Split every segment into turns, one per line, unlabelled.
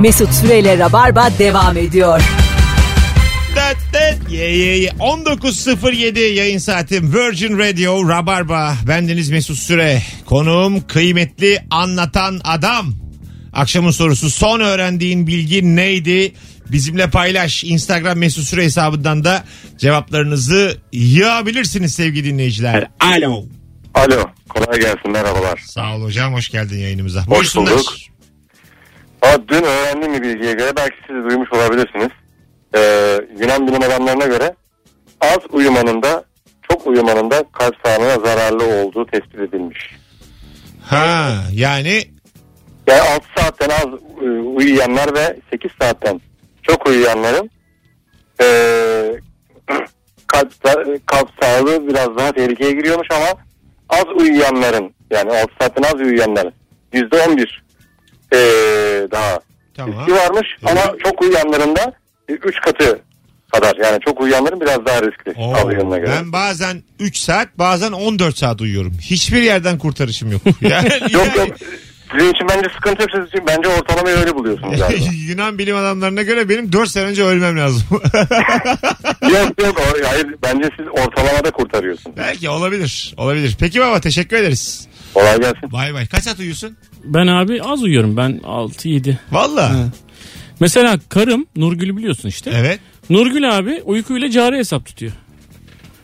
Mesut Süreyle Rabarba devam ediyor.
Dat, dat, ye, ye, ye. 19.07 yayın saati Virgin Radio Rabarba. Bendeniz Mesut Süre. Konuğum kıymetli anlatan adam. Akşamın sorusu son öğrendiğin bilgi neydi? Bizimle paylaş. Instagram Mesut Süre hesabından da cevaplarınızı yığabilirsiniz sevgili dinleyiciler.
Alo.
Alo, kolay gelsin, merhabalar.
Sağ ol hocam hoş geldin yayınımıza.
Hoş
Buyursunlar.
bulduk. Aa, dün öğrendiğim bir bilgiye göre, belki siz de duymuş olabilirsiniz. Ee, Yunan bilim adamlarına göre az uyumanın da çok uyumanın da kalp sağlığına zararlı olduğu tespit edilmiş.
Ha yani
Yani 6 saatten az e, uyuyanlar ve 8 saatten çok uyuyanların e, kalp, kalp sağlığı biraz daha tehlikeye giriyormuş ama az uyuyanların yani 6 saatten az uyuyanların %11 e, daha
tamam.
riski varmış
Evet.
ama çok uyuyanların da 3 katı kadar yani çok uyuyanların biraz daha riskli
Oo,
sağlığı yanına göre.
ben bazen 3 saat bazen 14 saat uyuyorum. Hiçbir yerden kurtarışım yok. Yani,
Yok yok sizin için bence sıkıntı yok siz için bence ortalamayı öyle buluyorsunuz galiba.
Yunan bilim adamlarına göre benim 4 sene önce ölmem lazım.
yok yok o- hayır bence siz ortalamada kurtarıyorsunuz.
Belki olabilir. Olabilir. Peki baba teşekkür ederiz.
Kolay gelsin.
Bay bay. Kaç saat uyuyorsun?
Ben abi az uyuyorum ben 6-7.
Valla.
Mesela karım Nurgül'ü biliyorsun işte.
Evet.
Nurgül abi uykuyla cari hesap tutuyor.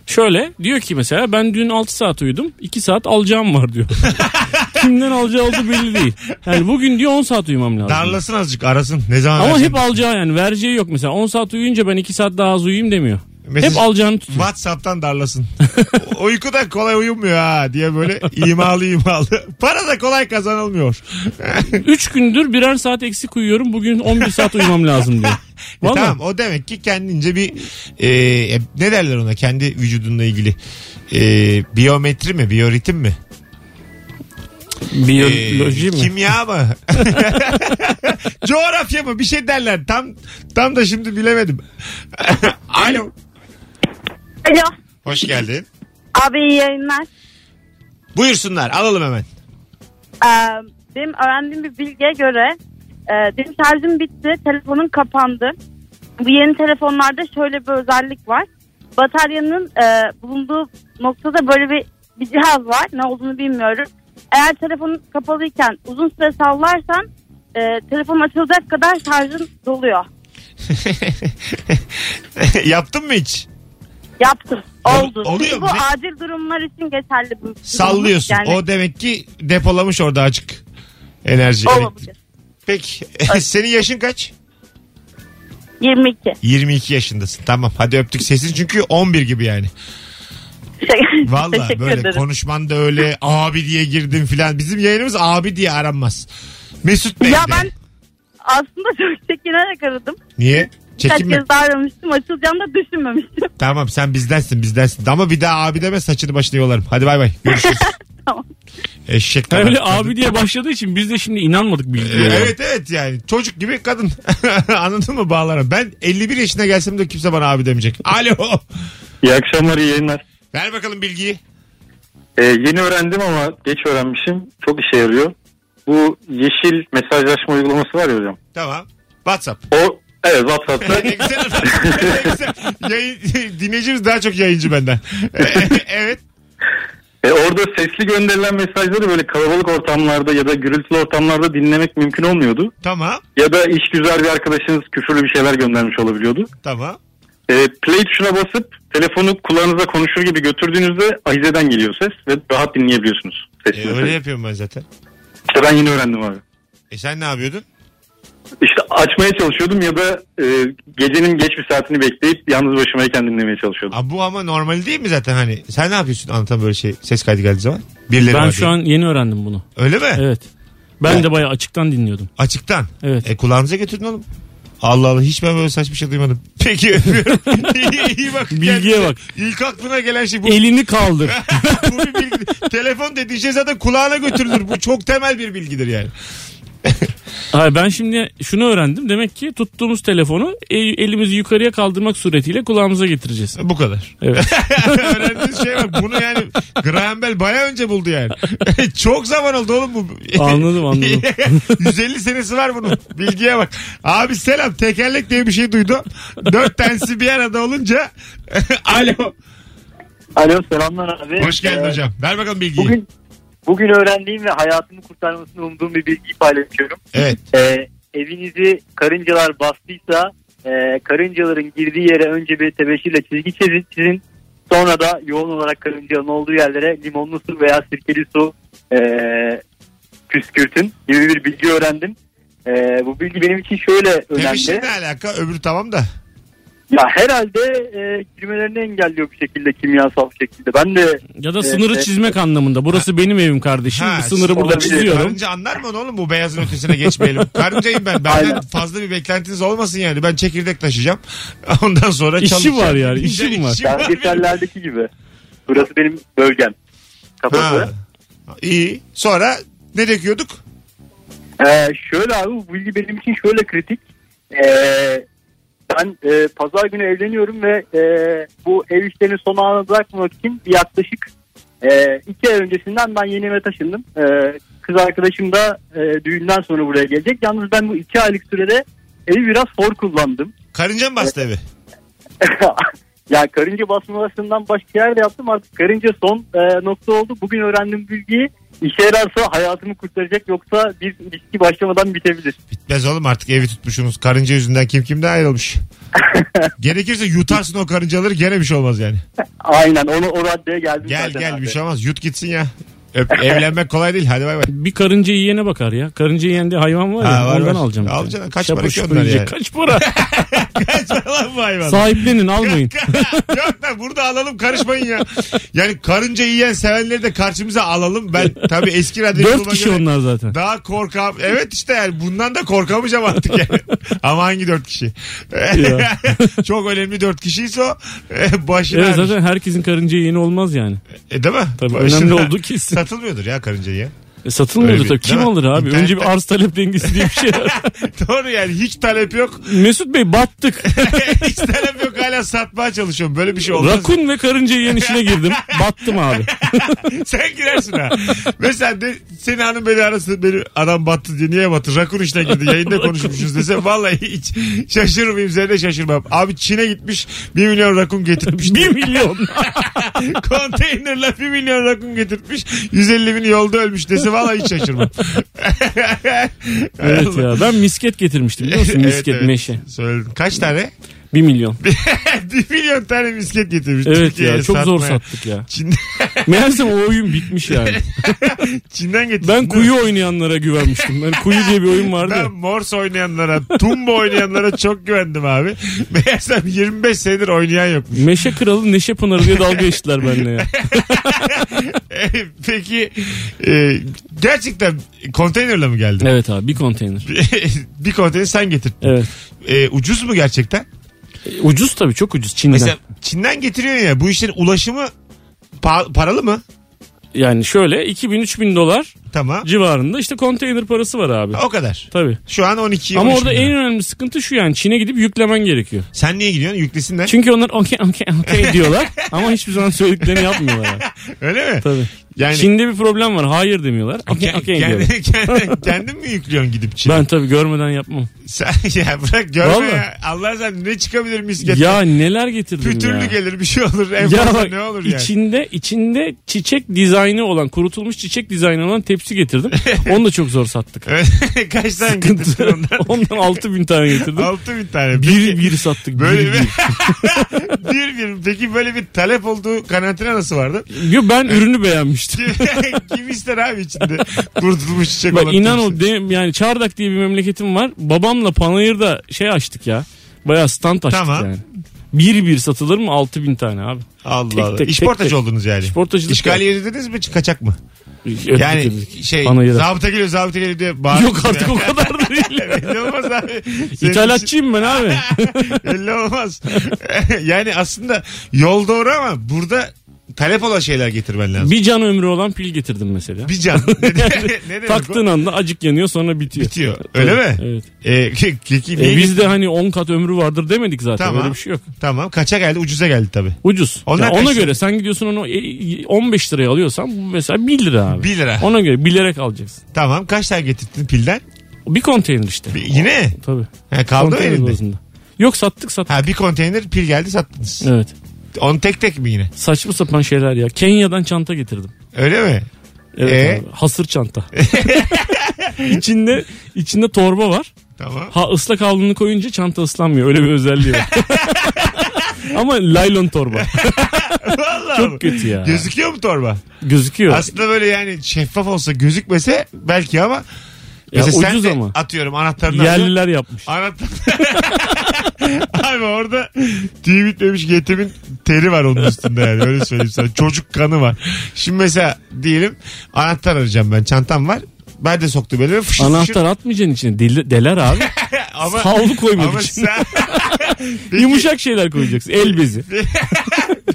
Şöyle diyor ki mesela ben dün 6 saat uyudum 2 saat alacağım var diyor. Kimden alacağı olduğu belli değil. Yani bugün diyor 10 saat uyumam lazım.
Darlasın azıcık arasın. Ne zaman
Ama
versin?
hep alacağı yani vereceği yok mesela 10 saat uyuyunca ben 2 saat daha az uyuyayım demiyor.
Mesaj-
Hep alacağını tutuyor.
Whatsapp'tan darlasın. O- Uyku da kolay uyumuyor ha diye böyle imalı imalı. Para da kolay kazanılmıyor.
3 gündür birer saat eksik uyuyorum bugün 11 saat uyumam lazım diyor.
E
Vallahi.
tamam o demek ki kendince bir e, e, ne derler ona kendi vücudunla ilgili e, biyometri mi biyoritim mi? E,
Biyoloji mi?
Kimya mı? Coğrafya mı? Bir şey derler. Tam tam da şimdi bilemedim. Alo.
Alo.
Hoş geldin.
Abi iyi yayınlar.
Buyursunlar alalım hemen.
Ee, benim öğrendiğim bir bilgiye göre e, benim şarjım bitti. Telefonum kapandı. Bu yeni telefonlarda şöyle bir özellik var. Bataryanın e, bulunduğu noktada böyle bir, bir cihaz var. Ne olduğunu bilmiyorum. Eğer telefonun kapalıyken uzun süre sallarsan e, telefon açılacak kadar şarjın doluyor.
Yaptın mı hiç?
Yaptım.
Ol-
Oldu.
oluyor
Çünkü
mu?
bu acil durumlar için geçerli bu. durumumuz.
Sallıyorsun.
Yani
O demek ki depolamış orada açık enerji.
olabilir.
Peki senin yaşın kaç?
22.
22 yaşındasın. Tamam hadi öptük sesin çünkü 11 gibi yani. Valla
Teşekkür
böyle
ederim.
konuşman da öyle abi diye girdin filan. Bizim yayınımız abi diye aranmaz. Mesut Bey
Ya
de.
ben aslında çok çekinerek aradım.
Niye?
Birkaç
Çekinme.
kez daha aramıştım. Açılacağını da düşünmemiştim.
Tamam sen bizdensin bizdensin. Ama bir daha abi deme saçını başına yolarım. Hadi bay bay. Görüşürüz.
Tamam.
Eşek kadar
Öyle
kadın.
abi diye başladığı için biz de şimdi inanmadık
Ee,
bilgiye.
Evet evet yani çocuk gibi kadın anladın mı bağlarım ben 51 yaşına gelsem de kimse bana abi demeyecek alo
İyi akşamlar, iyi yayınlar.
ver bakalım bilgiyi
Ee, yeni öğrendim ama geç öğrenmişim. Çok işe yarıyor. Bu yeşil mesajlaşma uygulaması var ya hocam.
tamam whatsapp
O evet WhatsApp'ta.
ne güzel, ne güzel. Yayın, dinleyicimiz daha çok yayıncı benden e, evet
e, orada sesli gönderilen mesajları böyle kalabalık ortamlarda ya da gürültülü ortamlarda dinlemek mümkün olmuyordu.
tamam
Ya da iş güzel bir arkadaşınız küfürlü bir şeyler göndermiş olabiliyordu.
tamam
E, play tuşuna basıp telefonu kulağınıza konuşur gibi götürdüğünüzde ahizeden geliyor ses ve rahat dinleyebiliyorsunuz. Sesli
E,
mesajı.
öyle yapıyorum ben zaten
İşte ben yeni öğrendim abi.
e sen ne yapıyordun
İşte açmaya çalışıyordum ya da e, gecenin geç bir saatini bekleyip yalnız başımayken dinlemeye çalışıyordum.
Aa, bu ama normal değil mi zaten hani sen ne yapıyorsun anlatan böyle şey ses kaydı geldiği zaman birileri
Ben
var
şu
diye.
an yeni öğrendim bunu.
öyle mi
Evet. Ben de bayağı açıktan dinliyordum.
açıktan
Evet.
E kulağınıza götürün oğlum. Allah Allah hiç ben böyle saçma şey duymadım. Peki öpüyorum. iyi, iyi bak.
Bilgiye bak.
İlk aklına gelen şey bu.
Elini kaldır.
bu bir bilgi. Telefon dediğin şey zaten kulağına götürülür. Bu çok temel bir bilgidir yani.
Hayır ben şimdi şunu öğrendim. Demek ki tuttuğumuz telefonu el- elimizi yukarıya kaldırmak suretiyle kulağımıza getireceğiz.
Bu kadar.
Evet.
Öğrendiğiniz şey bak. Bunu yani Graham Bell baya önce buldu yani. Çok zaman oldu oğlum bu.
Anladım, anladım.
150 senesi var bunun. Bilgiye bak. Abi selam tekerlek diye bir şey duydum. Dört tanesi bir arada olunca. Alo.
Alo selamlar abi.
Hoş geldin
Ee,
hocam. Ver bakalım bilgiyi.
Bugün bugün öğrendiğim ve hayatımı kurtarmasını umduğum bir bilgiyi paylaşıyorum.
Evet.
Ee, evinizi karıncalar bastıysa e, karıncaların girdiği yere önce bir tebeşirle çizgi çizin. çizin. Sonra da yoğun olarak karıncanın olduğu yerlere limonlu su veya sirkeli su e, püskürtün gibi bir bilgi öğrendim. E, bu bilgi benim için şöyle önemli.
Temişin ne alaka? Öbürü tamam da.
Ya herhalde e, girmelerini engelliyor bir şekilde kimyasal şekilde. Ben de
Ya da
Evet,
sınırı
evet.
çizmek anlamında. Burası benim evim kardeşim.
Ha,
Bu sınırı
şimdi
burada
olabilir.
çiziyorum.
Karınca anlar mı onu oğlum bu beyazın ötesine geçmeyelim. Karıncayım ben. Benden
Aynen.
fazla bir beklentiniz olmasın yani. Ben çekirdek taşıyacağım. Ondan sonra
İşim
çalışacağım.
var yani, işim var.
benim.
belgesellerdeki gibi. Burası benim bölgem.
Ha.
Kafası.
İyi. Sonra ne döküyorduk?
Ee, şöyle abi bu bilgi benim için şöyle kritik. Ee, ben e, pazar günü evleniyorum ve e, bu ev işlerini son ana bırakmamak için yaklaşık e, iki ay öncesinden ben yeni eve taşındım. E, kız arkadaşım da e, düğünden sonra buraya gelecek. Yalnız ben bu iki aylık sürede evi biraz zor kullandım.
Karınca mı bastı evi?
ya karınca basmalarından başka yerde yaptım artık karınca son e, nokta oldu. Bugün öğrendiğim bilgiyi işe yararsa hayatımı kurtaracak yoksa bir ilişki başlamadan bitebilir.
Bitmez oğlum artık evi tutmuşsunuz. Karınca yüzünden kim kimden ayrılmış. Gerekirse yutarsın o karıncaları gene bir şey olmaz yani.
Aynen onu o raddeye geldim
Gel
zaten
gel
abi.
bir şey olmaz. Yut gitsin ya. Öp, evlenmek kolay değil. Hadi bay bay.
Bir karınca yiyene bakar ya. Karınca yiyen de hayvan var ya.
Ha, var,
ondan
var.
alacağım. bir tane.
Alacaksın. Kaç
Şapır
para ki
şupur
onlar
yiyecek.
yani?
Kaç para?
Kaç lan bu hayvan.
Sahiplenin almayın.
Yok da burada alalım karışmayın ya. Yani karınca yiyen sevenleri de karşımıza alalım. Ben tabii eski radyo
Dört
yoluma
kişi
göre
onlar zaten.
Daha korkam. Evet işte yani bundan da korkamayacağım artık yani. Ama hangi dört kişi?
Ya.
Çok önemli dört kişiyse o e, başına
Evet
ermiş.
zaten herkesin karınca yiyeni olmaz yani.
E, değil mi?
Tabii
Başına-
önemli olduğu kesin.
Satılmıyordur ya karınca yiyen.
E, satılmıyordu
Öyle bir-
tabii. Kim
değil mi?
alır abi?
İnternette-
Önce bir arz talep dengesi diye bir şey var.
Doğru yani hiç talep yok.
Mesut Bey battık.
hiç talep yok hala satmaya çalışıyorum. Böyle bir şey olmaz.
Rakun ve karınca yiyen işine girdim. Battım abi.
Sen girersin ha. Mesela de, senin hanım beni arasın beni adam battı diye niye battı? Rakun işine girdi yayında konuşmuşuz dese vallahi hiç şaşırmayayım seni de şaşırmam. Abi Çin'e gitmiş 1 milyon rakun getirmiş.
Bir milyon.
Konteynerla 1 milyon rakun getirtmiş 150 bin yolda ölmüş dese vallahi hiç şaşırmam.
evet ya ben misket getirmiştim biliyor musun?
Evet,
Misket
evet.
meşe.
Söyledim. Kaç tane?
Bir milyon.
1 milyon tane misket getirmiş.
Evet
Türkiye'ye
ya çok zor
satmaya.
sattık ya.
Çin,
Meğerse o oyun bitmiş yani.
Çin'den getirmiş.
Ben kuyu oynayanlara güvenmiştim. Ben kuyu diye bir oyun vardı.
Ben
ya.
Morse oynayanlara, Tumba oynayanlara çok güvendim abi. Meğersem 25 senedir oynayan yokmuş.
Meşe kralı Neşe Pınarı diye dalga geçtiler benimle ya.
E, Peki e, gerçekten konteynerle mi geldin?
Evet abi bir konteyner.
bir konteyner sen getir.
Evet.
E, ucuz mu gerçekten?
E, Ucuz tabii çok ucuz Çin'den.
Mesela Çin'den getiriyor ya bu işlerin ulaşımı pa- paralı mı?
Yani şöyle 2000-3000 dolar
Tamam.
civarında işte konteyner parası var abi.
O kadar.
Tabii.
Şu an 12
Ama
13
orada
bin
en
lira.
önemli sıkıntı şu yani Çin'e gidip yüklemen gerekiyor.
Sen niye gidiyorsun? Yüklesinler.
Çünkü onlar okey okey okey diyorlar ama hiçbir zaman söylediklerini yapmıyorlar. Yani.
Öyle mi?
Tabii.
Yani
Çin'de bir problem var hayır demiyorlar. Okey
Ke-
okey
kendi-
diyorlar.
kendi- kendin mi yüklüyorsun gidip Çin'e?
Ben tabii görmeden yapmam.
Sen ya bırak görme
Vallahi.
ya. Allah sen ne çıkabilir misket?
Ya neler getirdim
Pütürlü
ya.
gelir bir şey olur. En
Ya
fazla
bak,
ne olur yani.
içinde içinde çiçek dizaynı olan kurutulmuş çiçek dizaynı olan tepsi getirdim. Onu da çok zor sattık.
Evet. Kaç tane getirdin ondan?
Ondan 6000 tane getirdim.
Altı bin tane.
Bir bir sattık.
Böyle
Böyle
bir, bir bir. Peki böyle bir talep olduğu kanaatine nasıl vardı?
Yo, ben ürünü beğenmiştim.
Kim, kim ister abi içinde kurtulmuş çiçek olan
Bak inan
kimse?
o de- yani Çardak diye bir memleketim var. Babamla Panayır'da şey açtık ya. Bayağı stand açtık
Tamam.
yani. Bir bir satılır mı 6000 tane abi.
Allah
tek
Allah.
tek,
İşportacı
tek tek.
oldunuz yani.
İşportacılık
İşgaliye dediniz mi kaçak mı?
Öptük
Yani
öptük.
şey
Panayır'a.
zabıta geliyor zabıta geliyor diye bağırıyor.
Yok artık o kadar da değil.
Belli olmaz abi. Senin için-
İthalatçıyım ben abi.
Belli olmaz. yani aslında yol doğru ama burada talep olan şeyler getirmen lazım.
Bir can ömrü olan pil getirdim mesela.
Bir can. ne, ne demek
Taktığın
o?
anda acık yanıyor sonra bitiyor.
Bitiyor. Öyle
Evet,
mi?
Evet.
Ee, ke- keki niye
E, bizde
getirdin?
hani 10 kat ömrü vardır demedik zaten.
Tamam.
Öyle bir şey yok.
Tamam kaça geldi ucuza geldi tabii.
Ucuz.
Onlar
Yani ona
kaç-
göre sen gidiyorsun onu e, 15 liraya alıyorsan bu mesela 1 lira abi.
1 lira.
Ona göre bilerek alacaksın.
Tamam kaç tane getirdin pilden?
Bir konteyner işte.
Bir- yine
Tabii.
He, kaldı mı
Konteyner
elinde?
bazında. Yok sattık sattık.
Ha bir konteyner pil geldi sattınız.
Evet.
Onu tek tek mi yine?
Saçma sapan şeyler ya. Kenya'dan çanta getirdim.
Öyle mi?
Evet
Ee?
abi. Hasır çanta. içinde içinde torba var.
Tamam.
Ha ıslak havlunu koyunca çanta ıslanmıyor. Öyle bir özelliği var. Ama laylon torba.
Vallahi
Çok
mi?
kötü ya.
Gözüküyor mu torba?
Gözüküyor.
Aslında böyle yani şeffaf olsa gözükmese belki ama
Ya
mesela sen
ucuz
de
ama.
atıyorum anahtarını alacaksın.
Yerliler yapmış.
Anahtar. Abi orada tüy bitmemiş yetimin teri var onun üstünde yani öyle söyleyeyim sana. Çocuk kanı var. Şimdi mesela diyelim anahtar arayacağım ben çantam var. Ben de soktum elime fışır fışır.
Anahtar atmayacaksın içine. Deli- deler abi.
Ama,
Havlu koymak
ama
için.
sen Peki-
Yumuşak şeyler koyacaksın. El bezi.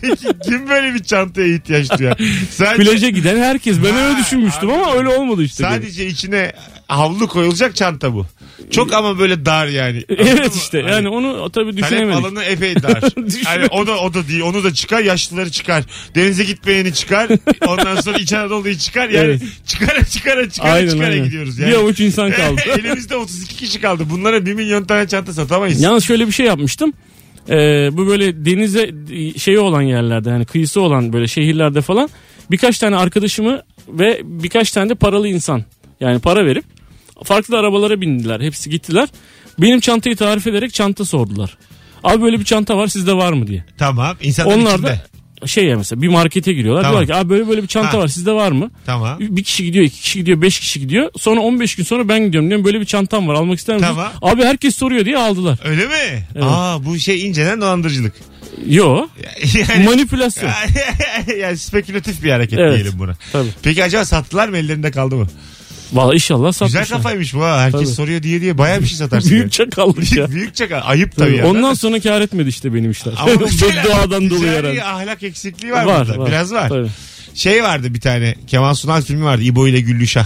peki kim böyle bir çantaya ihtiyaç duyar? Sadece,
Plaja giden herkes. Ben öyle
Ha,
düşünmüştüm ama öyle olmadı işte. benim.
sadece içine havlu koyulacak çanta bu. Çok ama böyle dar yani. Anladın
Evet
mı?
işte.
Hani-
Yani onu tabii
Talep
düşünemedik.
alanı epey dar. yani o da o da değil. Onu da çıkar, yaşlıları çıkar. Denize gitmeyeni çıkar. Ondan sonra İç Anadolu'yu çıkar. Yani
Evet.
çıkara çıkara çıkara
Aynen
çıkara
aynen.
gidiyoruz yani.
Bir avuç insan kaldı.
Elimizde 32 kişi kaldı. Bunlara 1 milyon tane çanta satamayız.
Yalnız şöyle bir şey yapmıştım. Ee, bu böyle denize şeyi olan yerlerde yani kıyısı olan böyle şehirlerde falan birkaç tane arkadaşımı ve birkaç tane de paralı insan yani para verip farklı arabalara bindiler hepsi gittiler. Benim çantayı tarif ederek çanta sordular. Abi böyle bir çanta var sizde var mı diye.
Tamam. İnsanların
Onlar
içinde.
da şey ya mesela bir markete giriyorlar.
Tamam.
Diyorlar ki abi böyle böyle bir çanta
Ha.
var sizde var mı?
Tamam.
Bir kişi gidiyor, iki kişi gidiyor, beş kişi gidiyor. Sonra 15 gün sonra ben gidiyorum diyorum böyle bir çantam var almak ister misin?
Tamam.
Abi herkes soruyor diye aldılar.
Öyle mi? Aa bu şey inceden dolandırıcılık.
Yo.
Yani
Manipülasyon.
yani spekülatif bir hareket
Evet.
diyelim buna.
Tabii.
Peki acaba sattılar mı ellerinde kaldı mı?
Valla inşallah
Güzel
satmışlar.
kafaymış bu ha. Herkes
Tabii.
soruyor diye diye bayağı bir şey satarsın. yani.
Büyük çakallık ya.
büyük, büyük çakal. Ayıp tabii.
Tabii.
ya.
Ondan sonra kar etmedi işte benim işler.
Ama mesela
Doğadan dolayı
ticari
herhalde.
ahlak eksikliği var,
Var,
burada.
var.
Biraz var.
Tabii.
Şey vardı bir tane Kemal Sunal filmi vardı. İbo ile Güllüşah.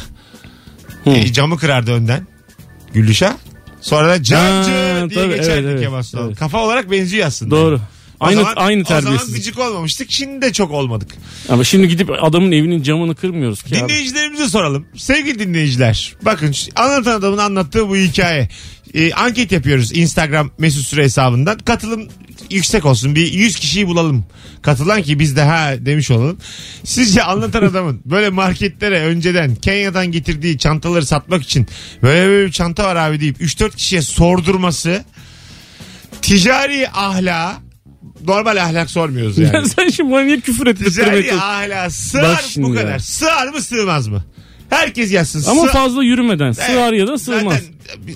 Hı.
E, camı kırardı önden. Güllüşah. Sonra da cancı
Ha,
diye
tabii,
geçerdi
evet, evet,
Kemal Sunal.
evet.
Kafa olarak benziyor aslında.
Doğru.
O
Aynı
zaman-
aynı
O zaman
terbiyesizlik.
gıcık olmamıştık. Şimdi de çok olmadık.
Ama şimdi gidip adamın evinin camını kırmıyoruz ki. abi.
Dinleyicilerimize soralım. Sevgili dinleyiciler. Bakın şu- anlatan adamın anlattığı bu hikaye. Ee, anket yapıyoruz Instagram mesut süre hesabından. Katılım yüksek olsun. Bir 100 kişiyi bulalım. Katılan ki biz de ha demiş olalım. Sizce anlatan adamın böyle marketlere önceden Kenya'dan getirdiği çantaları satmak için böyle böyle bir çanta var abi deyip 3-4 kişiye sordurması ticari ahlak normal ahlak sormuyoruz yani.
Ya sen şimdi bana niye küfür ettirmek
Ticari ahlak
Bak
sığar
şimdi
bu
ya.
kadar. Sığar mı sığmaz mı? Herkes yazsın.
Ama
Sığ-
fazla yürümeden. Sığar ya da sığmaz.
Zaten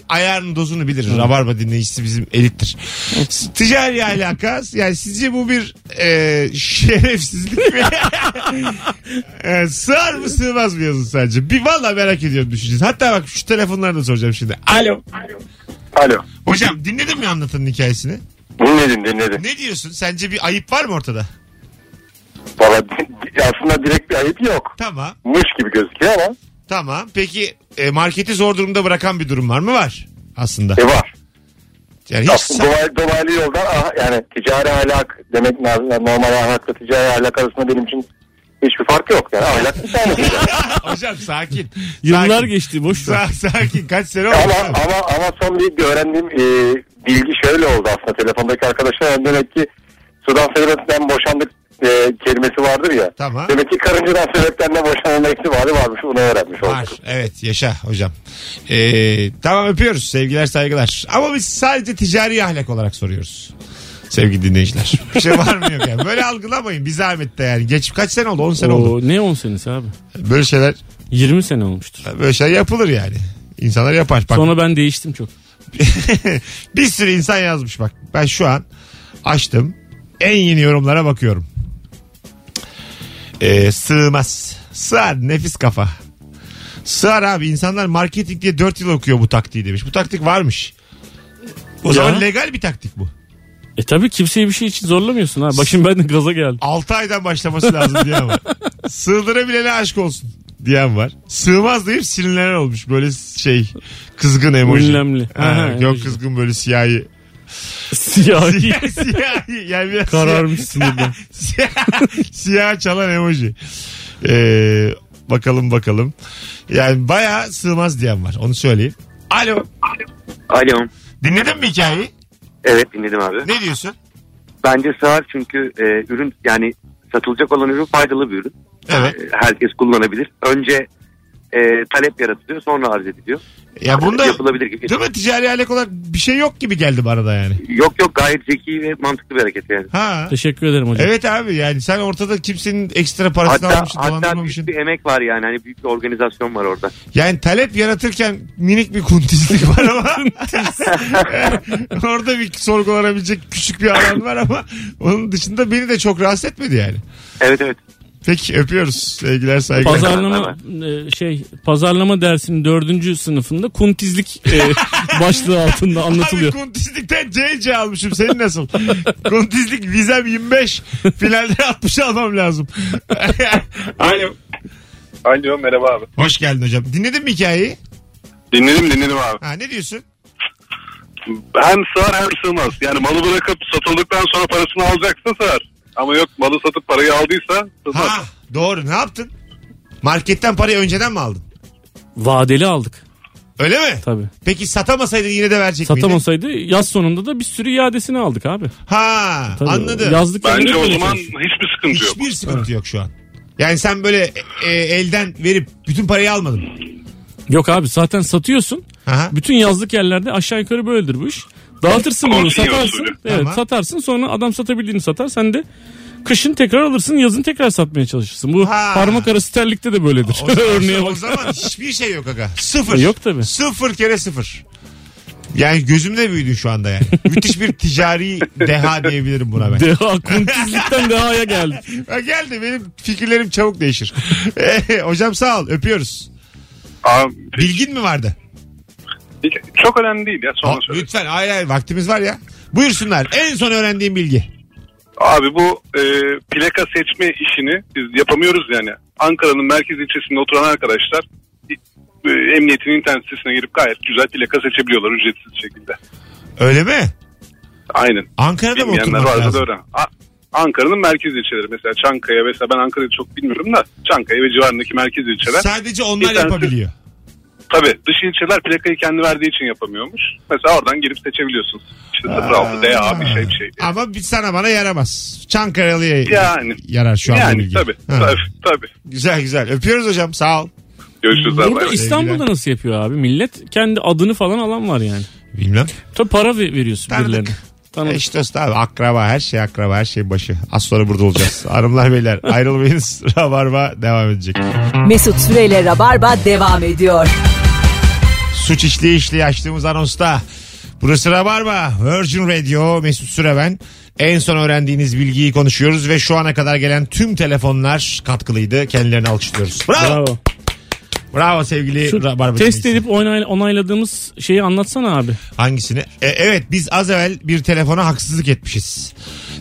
ayarın dozunu bilir. Rabarba dinleyicisi bizim elittir. Ticari alaka yani sizce bu bir e, şerefsizlik mi? e, sığar mı sığmaz mı yazın sadece. Bir valla merak ediyorum düşüneceğiz. Hatta bak şu telefonları da soracağım şimdi. Alo.
Alo.
Hocam dinledin mi anlatanın hikayesini?
Dinledim dinledim.
Ne diyorsun? Sence bir ayıp var mı ortada?
Valla aslında direkt bir ayıp yok.
Tamam.
Mış gibi gözüküyor ama
Tamam. Peki e, marketi zor durumda bırakan bir durum var mı? Var. Aslında.
e var.
Yani hiç
Aslında
sa-
dolaylı, dolaylı yoldan ah, yani ticari ahlak demek lazım. Yani normal ahlakla ticari ahlak arasında benim için hiçbir fark yok. Yani ahlak bir şey. tane.
Hocam sakin.
Yıllar
Sakin.
geçti boş ver.
Sa- sakin. Kaç sene oldu?
ama, ama, ama son bir bir öğrendiğim e, bilgi şöyle oldu aslında telefondaki arkadaşlar. Demek ki sudan sebepten boşandık e, kelimesi vardır ya.
Tamam.
Demek ki karıncadan sebepten de boşanma ihtimali varmış. Bunu öğrenmiş olduk.
Var. Evet yaşa hocam. Ee, tamam öpüyoruz. Sevgiler saygılar. Ama biz sadece ticari ahlak olarak soruyoruz. Sevgili dinleyiciler. Bir şey var mı yok yani. Böyle algılamayın. Bir zahmet de yani. Geç, kaç sene oldu? 10 sene oldu.
Oo, ne 10 senesi abi?
Böyle şeyler
20 sene olmuştur.
böyle şeyler yapılır yani. İnsanlar yapar. Bak,
Sonra ben değiştim çok.
bir sürü insan yazmış bak. Ben şu an açtım. En yeni yorumlara bakıyorum. Ee, sığmaz. Sığar nefis kafa. Sığar abi insanlar marketing diye 4 yıl okuyor bu taktiği demiş. Bu taktik varmış. O
Ya.
zaman legal bir taktik bu.
E tabi kimseyi bir şey için zorlamıyorsun ha. Başım ben de gaza geldi.
6 aydan başlaması lazım diyen var. Sığdırabilene aşk olsun diyen var. Sığmaz deyip sinirlenen olmuş. Böyle şey kızgın emoji.
Ünlemli.
Ha,
Aha,
yok
emoji.
kızgın böyle siyahi.
Siyahi.
siyahi. Yani biraz
Kararmış sinirden.
Siyah, siyah çalan emoji. Ee, bakalım bakalım. Yani bayağı sığmaz diyen var. Onu söyleyeyim. Alo.
Alo.
Dinledin mi hikayeyi?
Evet dinledim abi.
Ne diyorsun?
Bence sığar çünkü e, ürün yani satılacak olan ürün faydalı bir ürün.
Evet.
E, herkes kullanabilir. Önce e, talep yaratılıyor sonra arz ediliyor.
Ya bunda
Yapılabilir gibi.
değil mi ticari alak olarak bir şey yok gibi geldi bana da yani.
Yok yok gayet zeki ve mantıklı bir hareket yani.
Ha.
Teşekkür ederim hocam.
Evet abi yani sen ortada kimsenin ekstra parasını
Hatta,
almışsın
hatta
dolandırmamışsın.
büyük bir emek var yani. Hani büyük bir organizasyon var orada.
Yani talep yaratırken minik bir kuntizlik var ama orada bir sorgulanabilecek küçük bir alan var ama onun dışında beni de çok rahatsız etmedi yani.
Evet evet.
Peki öpüyoruz. Sevgiler saygılar.
Pazarlama e, şey pazarlama dersinin dördüncü sınıfında kuntizlik e, başlığı altında anlatılıyor.
Abi kuntizlikten CC almışım. Senin nasıl? kuntizlik vizem 25. Finalde 60 almam lazım. Alo.
Alo merhaba abi.
Hoş geldin hocam. Dinledin mi hikayeyi?
Dinledim dinledim abi.
Ha, ne diyorsun?
Hem sığar hem sığmaz. Yani malı bırakıp satıldıktan sonra parasını alacaksa sığar. Ama yok malı satıp parayı aldıysa sığmaz.
Ha, doğru. Ne yaptın? Marketten parayı önceden mi aldın?
Vadeli aldık
Öyle mi?
tabi.
Peki satamasaydın yine de verecek miydin?
Satamasaydı yaz sonunda da bir sürü iadesini aldık abi.
Ha,
E, Tabii,
anladım.
Yazlık
Bence
yerine
o
böyle
zaman
çalışıyor.
hiçbir sıkıntı yok.
Hiçbir sıkıntı yok şu an. Yani sen böyle e, e, elden verip bütün parayı almadın.
Yok abi zaten satıyorsun.
Aha.
Bütün yazlık yerlerde aşağı yukarı böyledir bu iş. Dağıtırsın bunu
Konsiyon
satarsın.
usulü.
Evet
Tamam.
satarsın sonra adam satabildiğini satar. Sen de kışın tekrar alırsın yazın tekrar satmaya çalışırsın. Bu
Ha.
parmak arası terlikte de böyledir.
O zaman,
Örneğe
o
bak.
zaman hiçbir şey yok aga. Sıfır.
Yok tabii.
Sıfır kere sıfır. Yani gözümde büyüdün şu anda yani. Müthiş bir ticari deha diyebilirim buna ben.
Deha kuntizlikten dehaya geldik.
Ha geldi benim fikirlerim çabuk değişir. Eh, hocam sağ ol öpüyoruz.
Abi,
Bilgin mi vardı?
hiç- çok önemli değil ya
Ha,
sonra söyleyeyim.
lütfen hayır hayır vaktimiz var ya. Buyursunlar en son öğrendiğim bilgi.
Abi bu e, plaka seçme işini biz yapamıyoruz yani. Ankara'nın merkez ilçesinde oturan arkadaşlar e, emniyetin internet sitesine girip gayet güzel plaka seçebiliyorlar ücretsiz şekilde.
Öyle mi?
Aynen.
Ankara'da mı
Bilmeyenler
oturmak
varsa da
lazım?
öğren. A- Ankara'nın merkez ilçeleri mesela Çankaya mesela ben Ankara'yı çok bilmiyorum da Çankaya ve civarındaki merkez ilçeler.
Sadece onlar
Bir tanesi-
yapabiliyor.
Tabii dış ilçeler plakayı kendi verdiği için yapamıyormuş. Mesela oradan girip seçebiliyorsun. İşte 06 DA bir şey bir şey. diye.
Ama bir sana bana yaramaz. Çankaralı'ya
Yani.
yarar şu an bu
Yani
bilgi.
tabii,
Ha.
tabii tabii.
Güzel güzel. Öpüyoruz hocam sağ ol.
Görüşürüz abi.
Burada İstanbul'da
Sevgiler.
nasıl yapıyor abi? Millet kendi adını falan alan var yani.
Bilmem.
Tabii para ve- veriyorsun
Tanıdık.
birilerine. Tanıdık.
Eş dost abi akraba her şey akraba her şeyin başı. Az sonra burada olacağız. Hanımlar beyler ayrılmayınız. Rabarba devam edecek.
Mesut Süreyle Rabarba devam ediyor.
Suç işliği işliği açtığımız anonsta. Burası Rabarba. Virgin Radio Mesut Süre ben. En son öğrendiğiniz bilgiyi konuşuyoruz ve şu ana kadar gelen tüm telefonlar katkılıydı. Kendilerini alkışlıyoruz. Bravo. Bravo,
Bravo.
sevgili
Şu
Rabarba.
test
dinleyicisi.
edip onay- onayladığımız şeyi anlatsana abi.
Hangisini? E, evet biz az evvel bir telefona haksızlık etmişiz.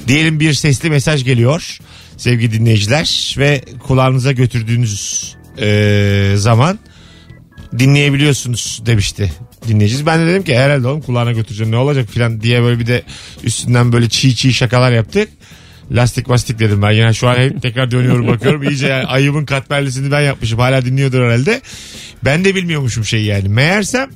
Diyelim bir sesli mesaj geliyor sevgili dinleyiciler ve kulağınıza götürdüğünüz e, zaman dinleyebiliyorsunuz demişti dinleyeceğiz. Ben de dedim ki herhalde oğlum kulağına götüreceğim ne olacak filan diye böyle bir de üstünden böyle çiğ çiğ şakalar yaptık. Lastik mastik dedim ben. Yani şu an hep tekrar dönüyorum bakıyorum. İyice yani ayıbın katmerlisini ben yapmışım. Hala dinliyordur herhalde. Ben de bilmiyormuşum şeyi yani. Meğersem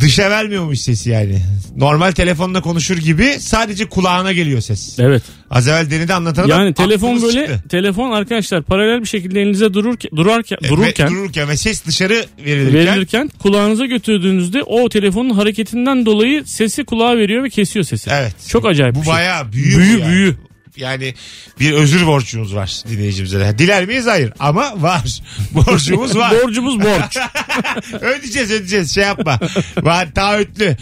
dışa vermiyormuş sesi yani. Normal telefonla konuşur gibi sadece kulağına geliyor ses.
Evet.
Az evvel denedi anlatan adam
Yani telefon
aklımız
böyle
çıktı.
telefon arkadaşlar paralel bir şekilde elinize dururken durarken
E, ve
dururken
dururken ve ses dışarı verilirken,
verilirken kulağınıza götürdüğünüzde o telefonun hareketinden dolayı sesi kulağa veriyor ve kesiyor sesi.
Evet.
Çok acayip
Bu
bir şey.
bayağı büyü.
Büyü,
bu yani.
büyü.
Yani bir özür borcumuz var dinleyicimize. de. Diler miyiz? Hayır. Ama var. Borcumuz var.
Borcumuz borç.
ödeyeceğiz ödeyeceğiz şey yapma. Var taahhütlü.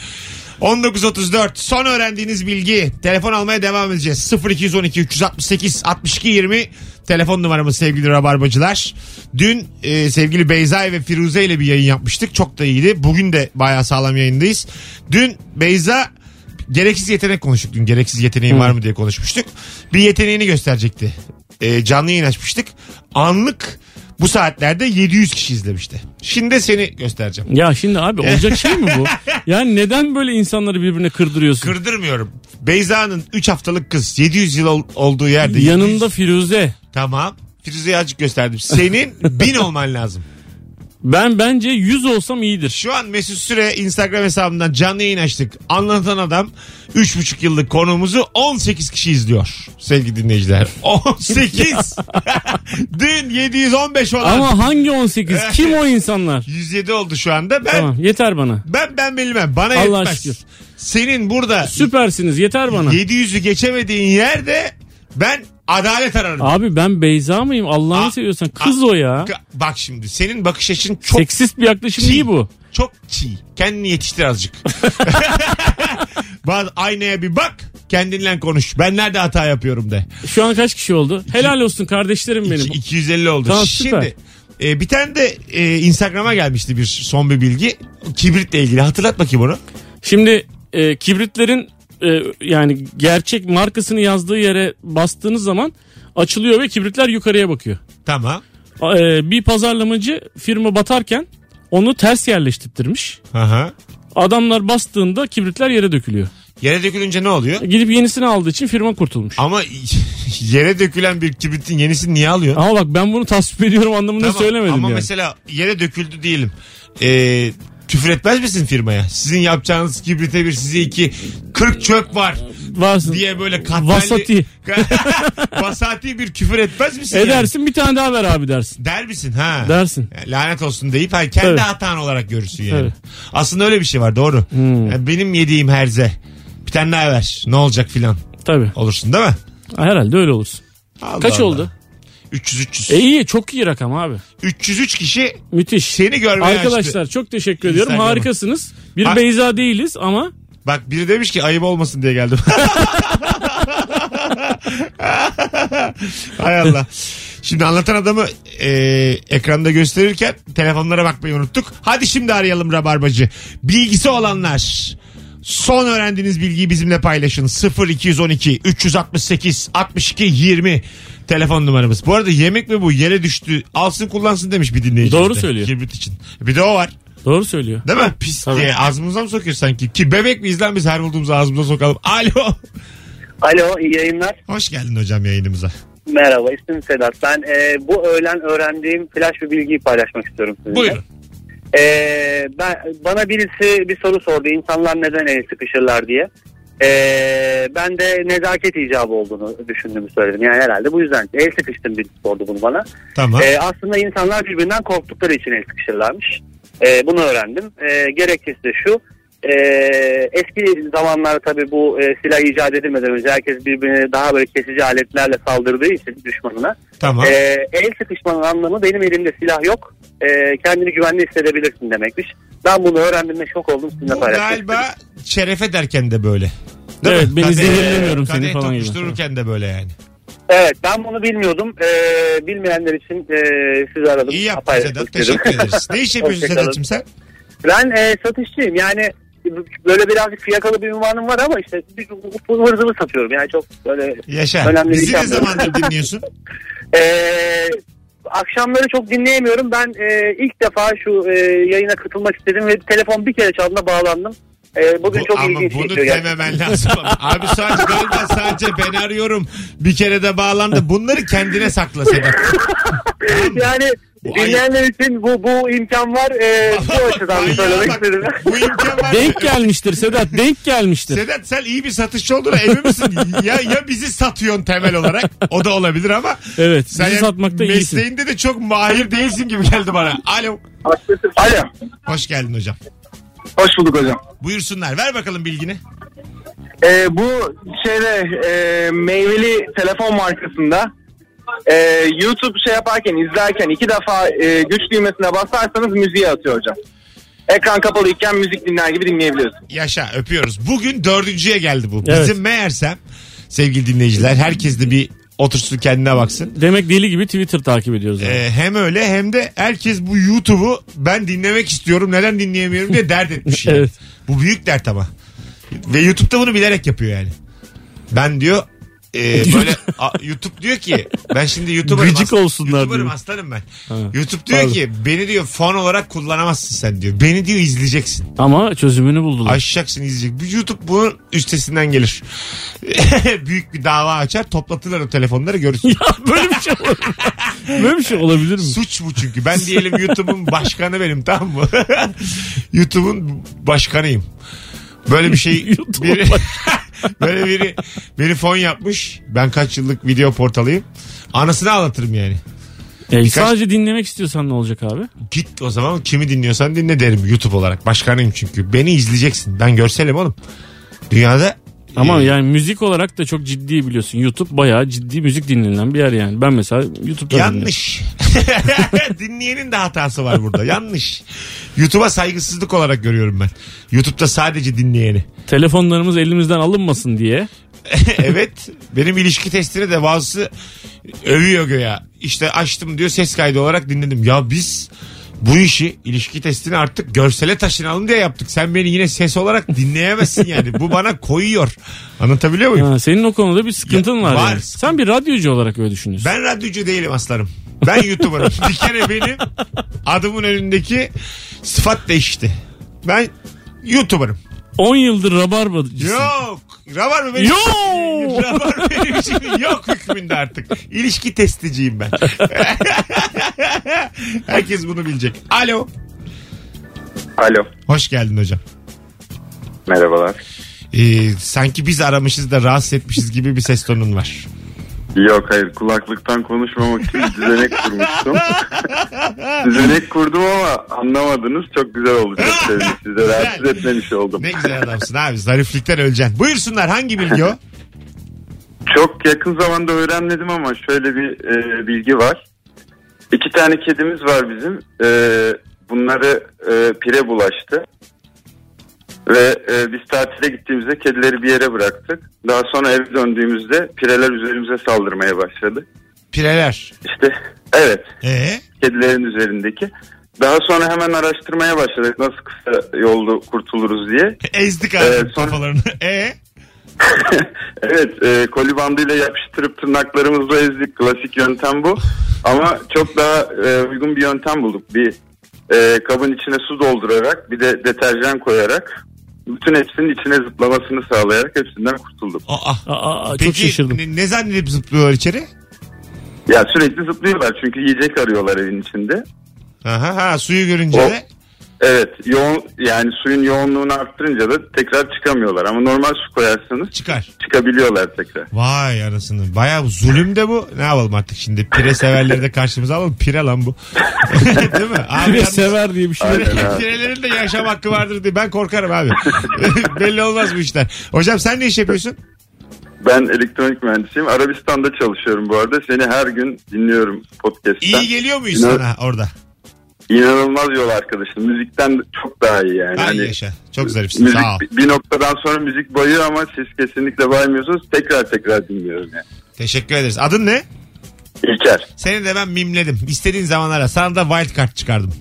19.34 son öğrendiğiniz bilgi. Telefon almaya devam edeceğiz. 0212 368 62 20 telefon numaramız sevgili Rabarbacılar. Dün e, sevgili Beyza ve Firuze ile bir yayın yapmıştık. Çok da iyiydi. Bugün de bayağı sağlam yayındayız. Dün Beyza gereksiz yetenek konuştuk dün. Gereksiz yeteneğin var mı diye konuşmuştuk. Bir yeteneğini gösterecekti. Ee, canlı yayın açmıştık. Anlık bu saatlerde 700 kişi izlemişti. Şimdi de seni göstereceğim.
Ya şimdi abi
E.
olacak şey mi bu? Yani neden böyle insanları birbirine kırdırıyorsun?
Kırdırmıyorum. Beyza'nın 3 haftalık kız 700 yıl ol- olduğu yerde. 700
Yanında Firuze.
Tamam. Firuze'yi azıcık gösterdim. Senin bin olman lazım.
Ben bence 100 olsam iyidir.
Şu an Mesut Süre Instagram hesabından canlı yayın açtık. Anlatan adam 3,5 yıllık konuğumuzu 18 kişi izliyor. Sevgili dinleyiciler. 18! Dün 715 olan
Ama hangi 18?
E.
Kim o insanlar?
107 oldu şu anda. Ben
Tamam yeter bana.
ben ben bilmem. Bana
Allah
yetmez.
şükür.
Senin burada
Süpersiniz yeter bana.
700'ü geçemediğin yerde ben adalet ararım.
Abi ben Beyza mıyım?
A-
Allah'ını seviyorsan kız o ya.
Ka- Bak şimdi senin bakış açın çok
Seksist bir yaklaşım değil bu.
Çok çiğ. Kendini yetiştir azıcık. Bazı aynaya bir bak. Kendinle konuş. Ben nerede hata yapıyorum de.
Şu an kaç kişi oldu? Helal olsun kardeşlerim
İki-
benim.
250 oldu.
Tamam, süper.
Şimdi e, bir tane de e, Instagram'a gelmişti bir son bir bilgi. Kibritle ilgili. Hatırlat bakayım onu.
Şimdi e, kibritlerin e, yani gerçek markasını yazdığı yere bastığınız zaman açılıyor ve kibritler yukarıya bakıyor.
Tamam.
A- e, bir pazarlamacı firma batarken onu ters yerleştirmiş.
Aha.
Adamlar bastığında kibritler yere dökülüyor.
Yere dökülünce ne oluyor?
Gidip yenisini aldığı için firma kurtulmuş.
Ama yere dökülen bir kibritin yenisini niye alıyorsun?
Ama bak ben bunu tasvip ediyorum anlamında
Tamam,
söylemedim
Ama
yani.
mesela yere döküldü diyelim. Ee, küfür etmez misin firmaya? Sizin yapacağınız kibrite bir size iki 40 çöp var
Varsın.
diye böyle katmerli.
Vasati.
Vasati bir küfür etmez misin? yani?
Edersin E bir tane daha ver abi dersin.
Der misin ha?
Dersin.
Yani Lanet olsun deyip hani kendi
Tabii.
hatan olarak görürsün yani.
Tabii.
Aslında öyle bir şey var doğru.
Hmm.
Yani benim yediğim herze. Bir tane daha ver. Ne olacak filan
Tabii.
olursun değil mi?
Herhalde öyle olursun.
Allah
Kaç
Allah.
oldu?
300 300.
E iyi çok iyi rakam abi.
303 kişi
Müthiş.
seni görmeye açtı.
Arkadaşlar çok teşekkür ediyorum.
Instagram'a.
Harikasınız. Bir
Ha-
Beyza değiliz ama
Bak biri demiş ki ayıp olmasın diye geldim. Hay Allah. Şimdi anlatan adamı e, ekranda gösterirken telefonlara bakmayı unuttuk. Hadi şimdi arayalım Rabarbacı. Bilgisi olanlar son öğrendiğiniz bilgiyi bizimle paylaşın. 0212 368 62 20 telefon numaramız. Bu arada yemek mi bu yere düştü alsın kullansın demiş bir dinleyici.
Doğru
bize.
söylüyor.
Kibrit için. Bir de o var.
doğru söylüyor.
Değil mi? Pis
Tabii.
diye ağzımıza mı sokuyor sanki? Ki bebek miyiz lan biz her bulduğumuzu ağzımıza sokalım. Alo.
Alo iyi yayınlar.
Hoş geldin hocam yayınımıza.
Merhaba ismim Sedat. Ben e, bu öğlen öğrendiğim flash bir bilgiyi paylaşmak istiyorum sizinle.
Buyurun.
Ee, ben bana birisi bir soru sordu. İnsanlar neden el sıkışırlar diye. Ee, ben de nezaket icabı olduğunu düşündüğümü söyledim. Yani herhalde bu yüzden el sıkıştım bir sordu bunu bana.
Tamam.
Ee, aslında insanlar birbirinden korktukları için el sıkışırlarmış. Ee, bunu öğrendim. Ee, gerekçesi de şu. ee, eski zamanlarda tabii bu e, silah icat edilmeden önce herkes birbirini daha böyle kesici aletlerle saldırdığı için düşmanına.
tamam.
Ee, el sıkışmanın anlamı benim elimde silah yok. Ee, kendini güvenli hissedebilirsin demekmiş. Ben bunu öğrendiğimde şok oldum sizinle
Bu
paylaşmak
galiba şeref ederken de böyle. Değil
Evet, ben
Kadeh-
zehirlemiyorum seni
kadeh
falan gibi.
tokuştururken de böyle yani.
istedim. Evet ben bunu bilmiyordum. Ee, bilmeyenler için e, sizi aradım.
İyi yaptın
Paylaşmak
Sedat.
istedim.
Teşekkür ederiz. Ne iş yapıyorsun
Hoşçakalın.
Sedat'cığım sen?
Ben e, satışçıyım yani böyle birazcık fiyakalı bir ünvanım var ama işte bir- hır zıvır satıyorum. Yani çok böyle
Yaşa.
Önemli bir
Bizi ne
şey yapmıyorum.
zamandır dinliyorsun?
Ee, akşamları çok dinleyemiyorum. Ben e, ilk defa şu e, yayına katılmak istedim ve telefon bir kere çaldığında bağlandım. E, bugün
Bu-
çok
ama
ilginç
bunu
geçiyor gerçekten.
dememen lazım. Abi sadece galiba sadece ben arıyorum. Bir kere de bağlandı. Bunları kendine sakla Sedat.
Yani
Bu
dinleyenler için bu bu imkan var. E,
Ee,
bu açıdan
Manyağa
söylemek
bak.
istedim.
Bu imkan var.
Denk gelmiştir Sedat denk gelmiştir.
Sedat sen iyi bir satışçı olduğuna emin misin? ya, ya bizi satıyorsun temel olarak. O da olabilir ama.
Evet
Sen
bizi
yani
satmakta
mesleğinde
iyisin.
de çok mahir değilsin gibi geldi bana. Alo.
Alo.
Hoş geldin hocam.
Hoş bulduk hocam.
Buyursunlar. Ver bakalım bilgini.
Ee, bu şeyde e, meyveli telefon markasında e, YouTube şey yaparken izlerken iki defa e, güç düğmesine basarsanız müziğe atıyor hocam. Ekran kapalı iken müzik dinler gibi dinleyebiliyorsun.
Yaşa öpüyoruz. Bugün dördüncüye geldi bu.
Evet.
Bizim meğersem sevgili dinleyiciler herkes de bir otursun kendine baksın.
Demek deli gibi Twitter takip ediyoruz. yani.
Ee, hem öyle hem de herkes bu YouTube'u ben dinlemek istiyorum neden dinleyemiyorum diye dert etmiş. yani.
Evet.
Bu büyük dert ama. Ve YouTube'da bunu bilerek yapıyor yani. Ben diyor e, böyle a- YouTube diyor ki ben şimdi YouTuber'ım,
Gıcık olsunlar
YouTuber'ım
diyor.
aslanım ben.
Ha,
YouTube diyor
pardon.
ki beni diyor fon olarak kullanamazsın sen diyor. Beni diyor izleyeceksin.
Ama çözümünü buldular.
Aşacaksın izleyecek. Bir YouTube bunun üstesinden gelir. Büyük bir dava açar toplatırlar o telefonları görürsün.
Böyle bir şey olabilir mi? Böyle bir şey olabilir mi?
Suç bu çünkü. Ben diyelim YouTube'un başkanı benim tamam mı? YouTube'un başkanıyım. Böyle bir şey
YouTube'un
biri, böyle biri beni fon yapmış. Ben kaç yıllık video portalıyım. Anasını ağlatırım yani.
E, Sadece dinlemek istiyorsan ne olacak abi?
Git o zaman kimi dinliyorsan dinle derim YouTube olarak. Başkanıyım çünkü. Beni izleyeceksin. Ben görselim oğlum. Dünyada
Ama
e,
yani müzik olarak da çok ciddi biliyorsun. YouTube bayağı ciddi müzik dinlenen bir yer yani. Ben mesela YouTube'da dinliyorum.
Yanlış. Dinleyenin de hatası var burada. Yanlış. YouTube'a saygısızlık olarak görüyorum ben. YouTube'da sadece dinleyeni.
Telefonlarımız elimizden alınmasın diye.
evet. Benim ilişki testine de bazısı övüyor göya. İşte açtım diyor ses kaydı olarak dinledim. Ya biz bu işi ilişki testini artık görsele taşınalım diye yaptık. Sen beni yine ses olarak dinleyemezsin yani. Bu bana koyuyor. Anlatabiliyor muyum?
Ha, senin o konuda bir sıkıntın
Ya,
var.
var.
yani. Sen bir radyocu olarak öyle düşünüyorsun.
Ben radyocu değilim aslanım. Ben YouTuber'ım. bir kere benim adımın önündeki sıfat değişti. Ben YouTuber'ım.
10 yıldır rabarbacısın.
Yok. Rabar mı benim?
Yo!
Rabar benim için yok hükmünde artık. İlişki testiciyim ben. Herkes bunu bilecek. Alo.
Alo.
Hoş geldin hocam.
Merhabalar.
Ee, sanki biz aramışız da rahatsız etmişiz gibi bir ses tonun var.
Yok hayır kulaklıktan konuşmamak için bir düzenek kurmuştum. düzenek kurdum ama anlamadınız. Çok güzel oldu. Çok sevindim. Size rahatsız etmemiş oldum.
Ne güzel adamsın abi. Zariflikten öleceksin. Buyursunlar hangi bilgi o?
Çok yakın zamanda öğrenmedim ama şöyle bir e, bilgi var. İki tane kedimiz var bizim. E, bunları e, pire bulaştı. Ve e, biz tatile gittiğimizde kedileri bir yere bıraktık. Daha sonra eve döndüğümüzde pireler üzerimize saldırmaya başladı.
Pireler.
İşte evet
Ee?
kedilerin üzerindeki. Daha sonra hemen araştırmaya başladık nasıl kısa yolda kurtuluruz diye.
Ezdik abi
Evet, sonra-
kafalarını. Ee?
evet e, koli bandıyla yapıştırıp tırnaklarımızla ezdik. Klasik yöntem bu. Ama çok daha e, uygun bir yöntem bulduk. Bir e, kabın içine su doldurarak bir de deterjan koyarak bütün hepsinin içine zıplamasını sağlayarak hepsinden kurtulduk.
Aa,
Aa, çok
Peki
şaşırdım.
ne, ne zannedip zıplıyorlar içeri?
Ya sürekli zıplıyorlar çünkü yiyecek arıyorlar evin içinde.
Aha, ha, suyu görünce
O-
de.
Evet yoğun yani suyun yoğunluğunu arttırınca da tekrar çıkamıyorlar ama normal su koyarsanız
Çıkar.
çıkabiliyorlar tekrar.
Vay anasını. Bayağı bu zulüm de bu. Ne yapalım artık şimdi? Pire severleri de karşımıza alalım. Pire lan bu. Değil mi? Abi
Bir
yalnız-
sever diye bir şey.
Aynen abi.
Pirelerin de yaşam hakkı vardır diye. Ben korkarım abi. Belli olmaz bu işler. Hocam sen ne iş yapıyorsun?
Ben elektronik mühendisiyim. Arabistan'da çalışıyorum bu arada. Seni her gün dinliyorum podcast'ten.
İyi geliyor muyuz
Ne-
sana orada?
İnanılmaz yol arkadaşım. Müzikten çok daha iyi yani.
Ay
Hani
yaşa. Çok zarifsin.
müzik
Sağ ol.
bir noktadan sonra müzik bayıyor ama siz kesinlikle baymıyorsunuz. Tekrar tekrar dinliyorum yani.
Teşekkür ederiz. Adın ne?
İlker.
Seni de ben mimledim. İstediğin zaman ara. Sana da wild card çıkardım.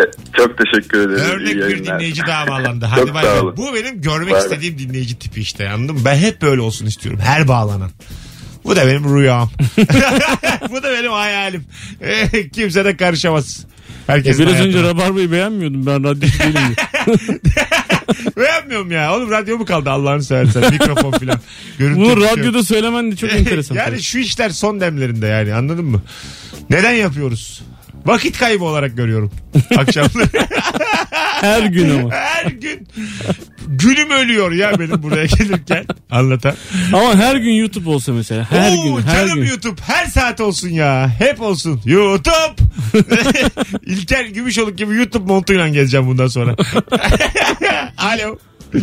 e, Çok teşekkür ederim.
Örnek
İyi
bir
Ee, yayınlar.
dinleyici daha bağlandı.
Çok
Hadi bay
sağ
bay.
olun.
Bu benim görmek
Bay bay.
istediğim dinleyici tipi işte anladın mı? Ben hep böyle olsun istiyorum. Her bağlanan. Bu da benim rüyam. Bu da benim hayalim. Eh, Kimse de karışamaz. Herkes
Biraz önce rabarbayı beğenmiyordum ben radyocu değilim. diye.
Beğenmiyorum ya. Oğlum radyo mu kaldı Allah'ını seversen? Mikrofon filan. Görüntü
Bunu
bir şey yok.
radyoda söylemen de çok enteresan.
yani şu işler son demlerinde yani anladın mı? Neden yapıyoruz? Vakit kaybı olarak görüyorum. Akşamları.
Her gün ama.
Her gün gülüm ölüyor ya benim buraya gelirken anlatan.
Ama her gün YouTube olsa mesela. Her
Oo,
gün, her
canım
gün.
YouTube her saat olsun ya. Hep olsun. YouTube. İlker Gümüşoluk gibi YouTube montuyla gezeceğim bundan sonra. Alo.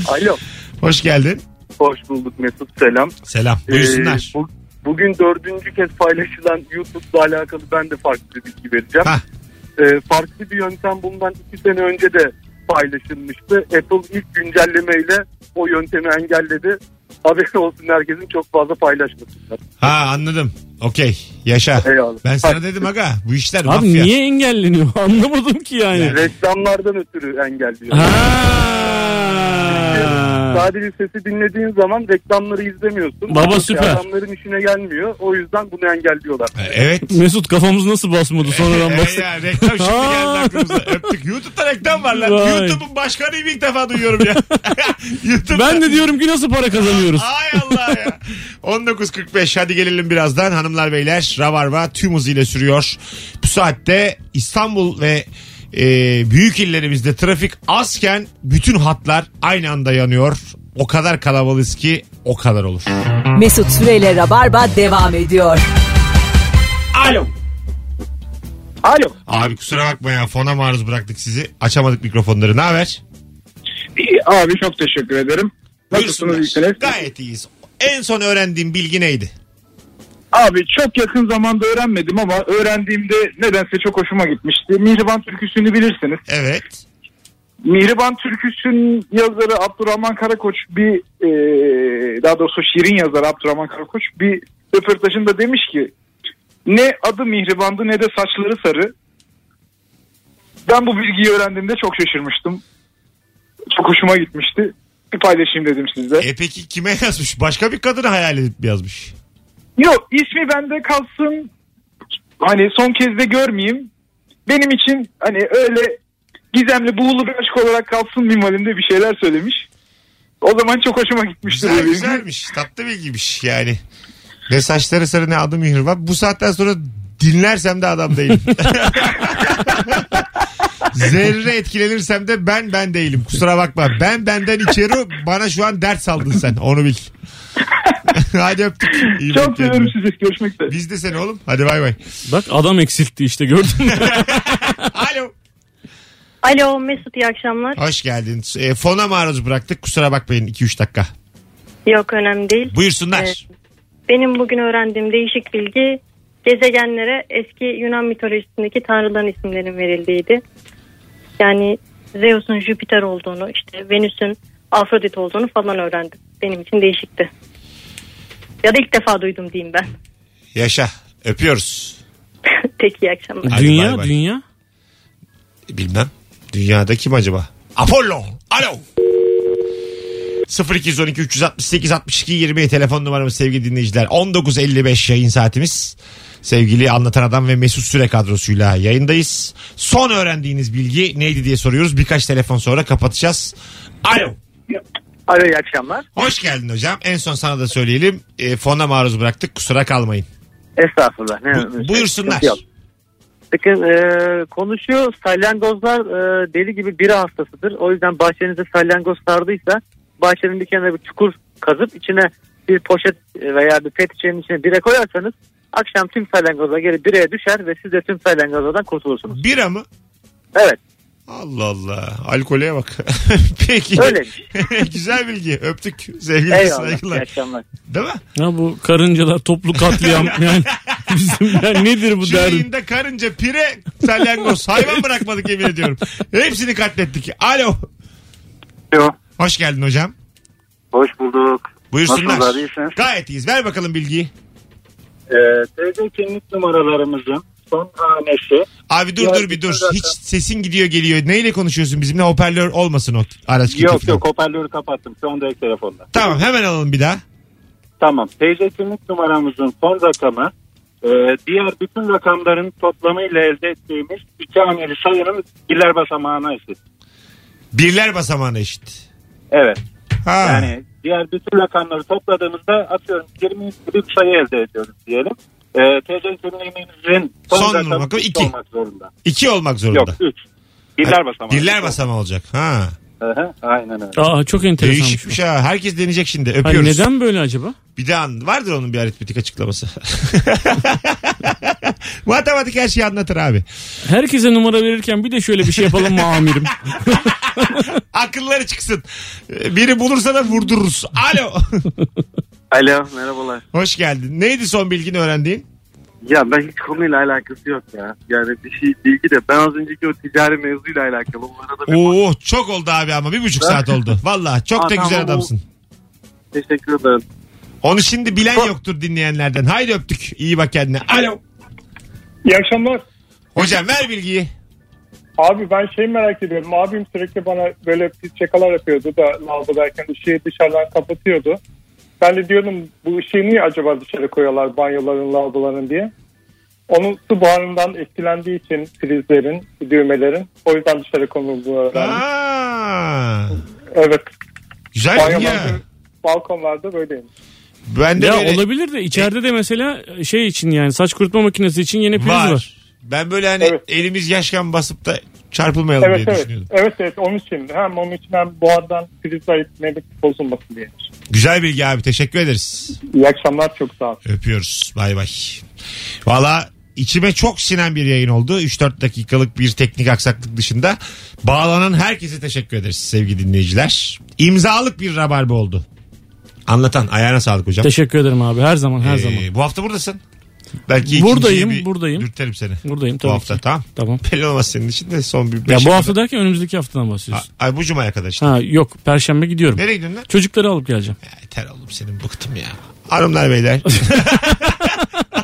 Alo.
Hoş geldin.
Hoş bulduk Mesut selam.
Selam. Buyursunlar.
Ee, bu- bugün dördüncü kez paylaşılan YouTube'la alakalı ben de farklı bir bilgi vereceğim.
Hah.
Ee, farklı bir yöntem bundan iki sene önce de paylaşılmıştı. Apple ilk güncellemeyle o yöntemi engelledi. Haberin olsun herkesin çok fazla paylaşmasınlar.
Ha anladım. Okey. Yaşa.
Eyvallah.
Ben sana dedim aga bu işler
Abi
mafya.
niye engelleniyor? Anlamadım ki yani.
Reklamlardan ötürü engelliyor.
Ha.
Sadece sesi dinlediğin zaman reklamları izlemiyorsun.
Baba süper.
Adamların işine gelmiyor. O yüzden bunu engelliyorlar.
Evet.
Mesut kafamız nasıl basmadı sonradan
Evet
bastık.
Ee, ya reklam şimdi geldi
Aa.
aklımıza. Öptük. YouTube'da reklam var lan.
Vay.
YouTube'un başkanıyım ilk defa duyuyorum ya. YouTube'da.
Ben de diyorum ki nasıl para kazanıyoruz.
Ay Allah ya. 19.45 hadi gelelim birazdan. Hanımlar beyler Rabarba tüm hızıyla sürüyor. Bu saatte İstanbul ve e, büyük illerimizde trafik azken bütün hatlar aynı anda yanıyor. O kadar kalabalığız ki o kadar olur.
Mesut Süreyle Rabarba devam ediyor.
Alo.
Alo.
Abi kusura bakma ya fona maruz bıraktık sizi. Açamadık mikrofonları. Ne haber?
Abi çok teşekkür ederim. Nasılsınız
Buyursunlar.
iyisiniz?
Gayet iyiyiz. En son öğrendiğim bilgi neydi?
Abi çok yakın zamanda öğrenmedim ama öğrendiğimde nedense çok hoşuma gitmişti. Mihriban türküsünü bilirsiniz.
Evet.
Mihriban türküsünün yazarı Abdurrahman Karakoç bir e, daha doğrusu şiirin yazarı Abdurrahman Karakoç bir röportajında demiş ki ne adı Mihriban'dı ne de saçları sarı. Ben bu bilgiyi öğrendiğimde çok şaşırmıştım. Çok hoşuma gitmişti. Bir paylaşayım dedim sizle.
E peki kime yazmış? Başka bir kadını hayal edip yazmış.
Yok ismi bende kalsın. Hani son kez de görmeyeyim. Benim için hani öyle gizemli buğulu bir aşk olarak kalsın minvalinde bir şeyler söylemiş. O zaman çok hoşuma gitmişti.
Güzel güzelmiş. Tatlı bilgiymiş yani. Ne saçları sarı ne adı mihriban. Bu saatten sonra dinlersem de adam değilim. Zerre etkilenirsem de ben ben değilim. Kusura bakma. Ben benden içeri bana şu an dert saldın sen. Onu bil. Hadi öptük. İyi bak
Çok seviyorum
kendine.
sizi. Görüşmek üzere.
Biz de seni oğlum. Hadi bay bay.
Bak adam eksiltti işte gördün mü?
Alo.
Alo Mesut iyi akşamlar.
Hoş geldin. E, fona maruz bıraktık. Kusura bakmayın 2-3 dakika.
Yok önemli değil.
Buyursunlar.
Evet. Benim bugün öğrendiğim değişik bilgi gezegenlere eski Yunan mitolojisindeki tanrıların isimlerinin verildiğiydi. Yani Zeus'un Jüpiter olduğunu, işte Venüs'ün Afrodit olduğunu falan öğrendim. Benim için değişikti. Ya da ilk defa duydum diyeyim ben.
Yaşa. Öpüyoruz.
Peki iyi akşamlar.
Hadi bay
dünya
bay.
dünya.
Bilmem. Dünyada kim acaba? Apollo. Alo. 0212 368 62 20 telefon numaramız sevgili dinleyiciler. 19.55 yayın saatimiz. Sevgili Anlatan Adam ve Mesut Süre kadrosuyla yayındayız. Son öğrendiğiniz bilgi neydi diye soruyoruz. Birkaç telefon sonra kapatacağız. Alo.
Alo iyi akşamlar.
Hoş geldin hocam. En son sana da söyleyelim. E, fona maruz bıraktık. Kusura kalmayın.
Estağfurullah. Ne,
Bu- buyursunlar.
Sıkıntı yok. Bakın e, konuşuyor salyangozlar e, deli gibi bira hastasıdır. O yüzden bahçenize salyangoz sardıysa bahçenin bir kenarına bir çukur kazıp içine bir poşet e, veya bir pet şişenin içine bira koyarsanız akşam tüm salyangozlar geri biraya düşer ve siz de tüm salyangozlardan kurtulursunuz.
Bira mı?
Evet
Allah Allah. Alkoleye bak. Peki.
Öyleymiş.
şey.
Güzel bilgi. Öptük. Sevgili
eyvallah iyi
saygılar.
akşamlar.
Değil mi?
Ya bu karıncalar toplu katliam yani bizim ya nedir bu
Şu
derdin?
yayında karınca, pire, salyangoz. Hayvan bırakmadık yemin ediyorum. Hepsini katlettik. Alo.
Alo.
Hoş geldin hocam.
Hoş bulduk.
Buyursunlar.
Nasılsınız, iyisiniz?
Gayet iyiyiz. Ver bakalım bilgiyi.
Ee, TC kimlik numaralarımızın son hanesi
Abi dur
Ya,
dur bir dur.
zaten-
Hiç sesin gidiyor geliyor. Neyle konuşuyorsun bizimle? Hoparlör olmasın o araç
yok
keyfine.
yok hoparlörü kapattım şu anda ek telefonda.
Tamam hemen alalım bir daha.
Tamam TC kimlik numaramızın son rakamı e, diğer bütün rakamların toplamıyla elde ettiğimiz iki haneli sayının birler basamağına eşit.
Birler basamağına eşit.
Evet
Ha.
yani diğer bütün rakamları topladığımızda atıyorum 20 gibi bir sayı elde ediyoruz diyelim. E, TC kimliğimizin son,
Son
rakamı
rakamı
2
iki.
olmak zorunda.
İki olmak zorunda.
Yok 3. Birler basamağı.
Birler basamağı olacak. Ha.
Hı hı, Aynen öyle.
Aa çok enteresan.
Değişikmiş ha. Herkes deneyecek şimdi. Öpüyoruz.
Hayır, neden böyle acaba?
Bir de an vardır onun bir aritmetik açıklaması. Matematik her şeyi anlatır abi.
Herkese numara verirken bir de şöyle bir şey yapalım mı amirim?
Akılları çıksın. Ee, Biri bulursa da vurdururuz. Alo.
Alo merhabalar.
Hoş geldin. Neydi son bilgini öğrendiğin?
Ya ben hiç konuyla alakası yok ya. Yani bir şey bilgi de ben az önceki o ticari mevzuyla alakalı. Onlara da
Oo çok oldu abi ama bir buçuk saat oldu. Valla çok
Aa,
da güzel
tamam,
adamsın.
teşekkür ederim.
Onu şimdi bilen yoktur dinleyenlerden. Haydi öptük. İyi bak kendine. Alo.
İyi akşamlar.
Hocam ver bilgiyi.
Abi ben şey merak ediyorum. Abim sürekli bana böyle pis şakalar yapıyordu da lavabodayken ışığı dışarıdan kapatıyordu. Ben de diyordum bu ışığı niye acaba dışarı koyuyorlar banyoların lavaboların diye. Onun su buharından etkilendiği için prizlerin, düğmelerin o yüzden dışarı konulduğunu öğrendim.
Aa,
Evet.
güzel ya.
Banyolarda, balkonlarda böyleyim.
Ben de
Ya
böyle-
olabilir de içeride de mesela şey için yani saç kurutma makinesi için yeni priz var.
var. Ben böyle hani
Evet.
elimiz yaşken basıp da çarpılmayalım
Evet
diye
evet.
düşünüyordum.
Evet evet onun için. Hem onun için hem buhardan prizler etmelik bozulmasın diye.
Güzel bilgi abi teşekkür ederiz.
İyi akşamlar çok sağ ol.
Öpüyoruz bay bay. Valla içime çok sinen bir yayın oldu. 3-4 dakikalık bir teknik aksaklık dışında. Bağlanan herkese teşekkür ederiz sevgili dinleyiciler. İmzalık bir rabarba oldu. Anlatan ayağına sağlık hocam.
Teşekkür ederim abi her zaman her
Ee,
zaman.
Bu hafta buradasın. Belki
Buradayım,
ikinciyi bir
buradayım.
Dürterim seni.
Buradayım tabii
bu hafta
ki.
tamam.
Tamam.
Belli olmaz senin için de son bir
Ya
beş
bu
yılda-
hafta derken önümüzdeki haftadan bahsediyorsun.
Ay bu cumaya kadar işte.
Ha yok perşembe gidiyorum.
Nereye gidiyorsun lan?
Çocukları alıp geleceğim.
Ya Yeter oğlum senin bıktım ya. Hanımlar beyler.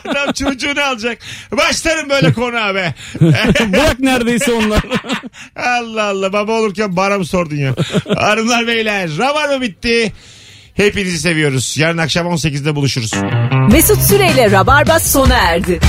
Adam çocuğunu alacak. Başlarım böyle konu abi.
Bırak neredeyse onlar.
Allah Allah baba olurken bana mı sordun ya? Hanımlar beyler rabar mı bitti? Hepinizi seviyoruz. Yarın akşam 18'de buluşuruz.
Mesut Süreyle Rabarba sona erdi.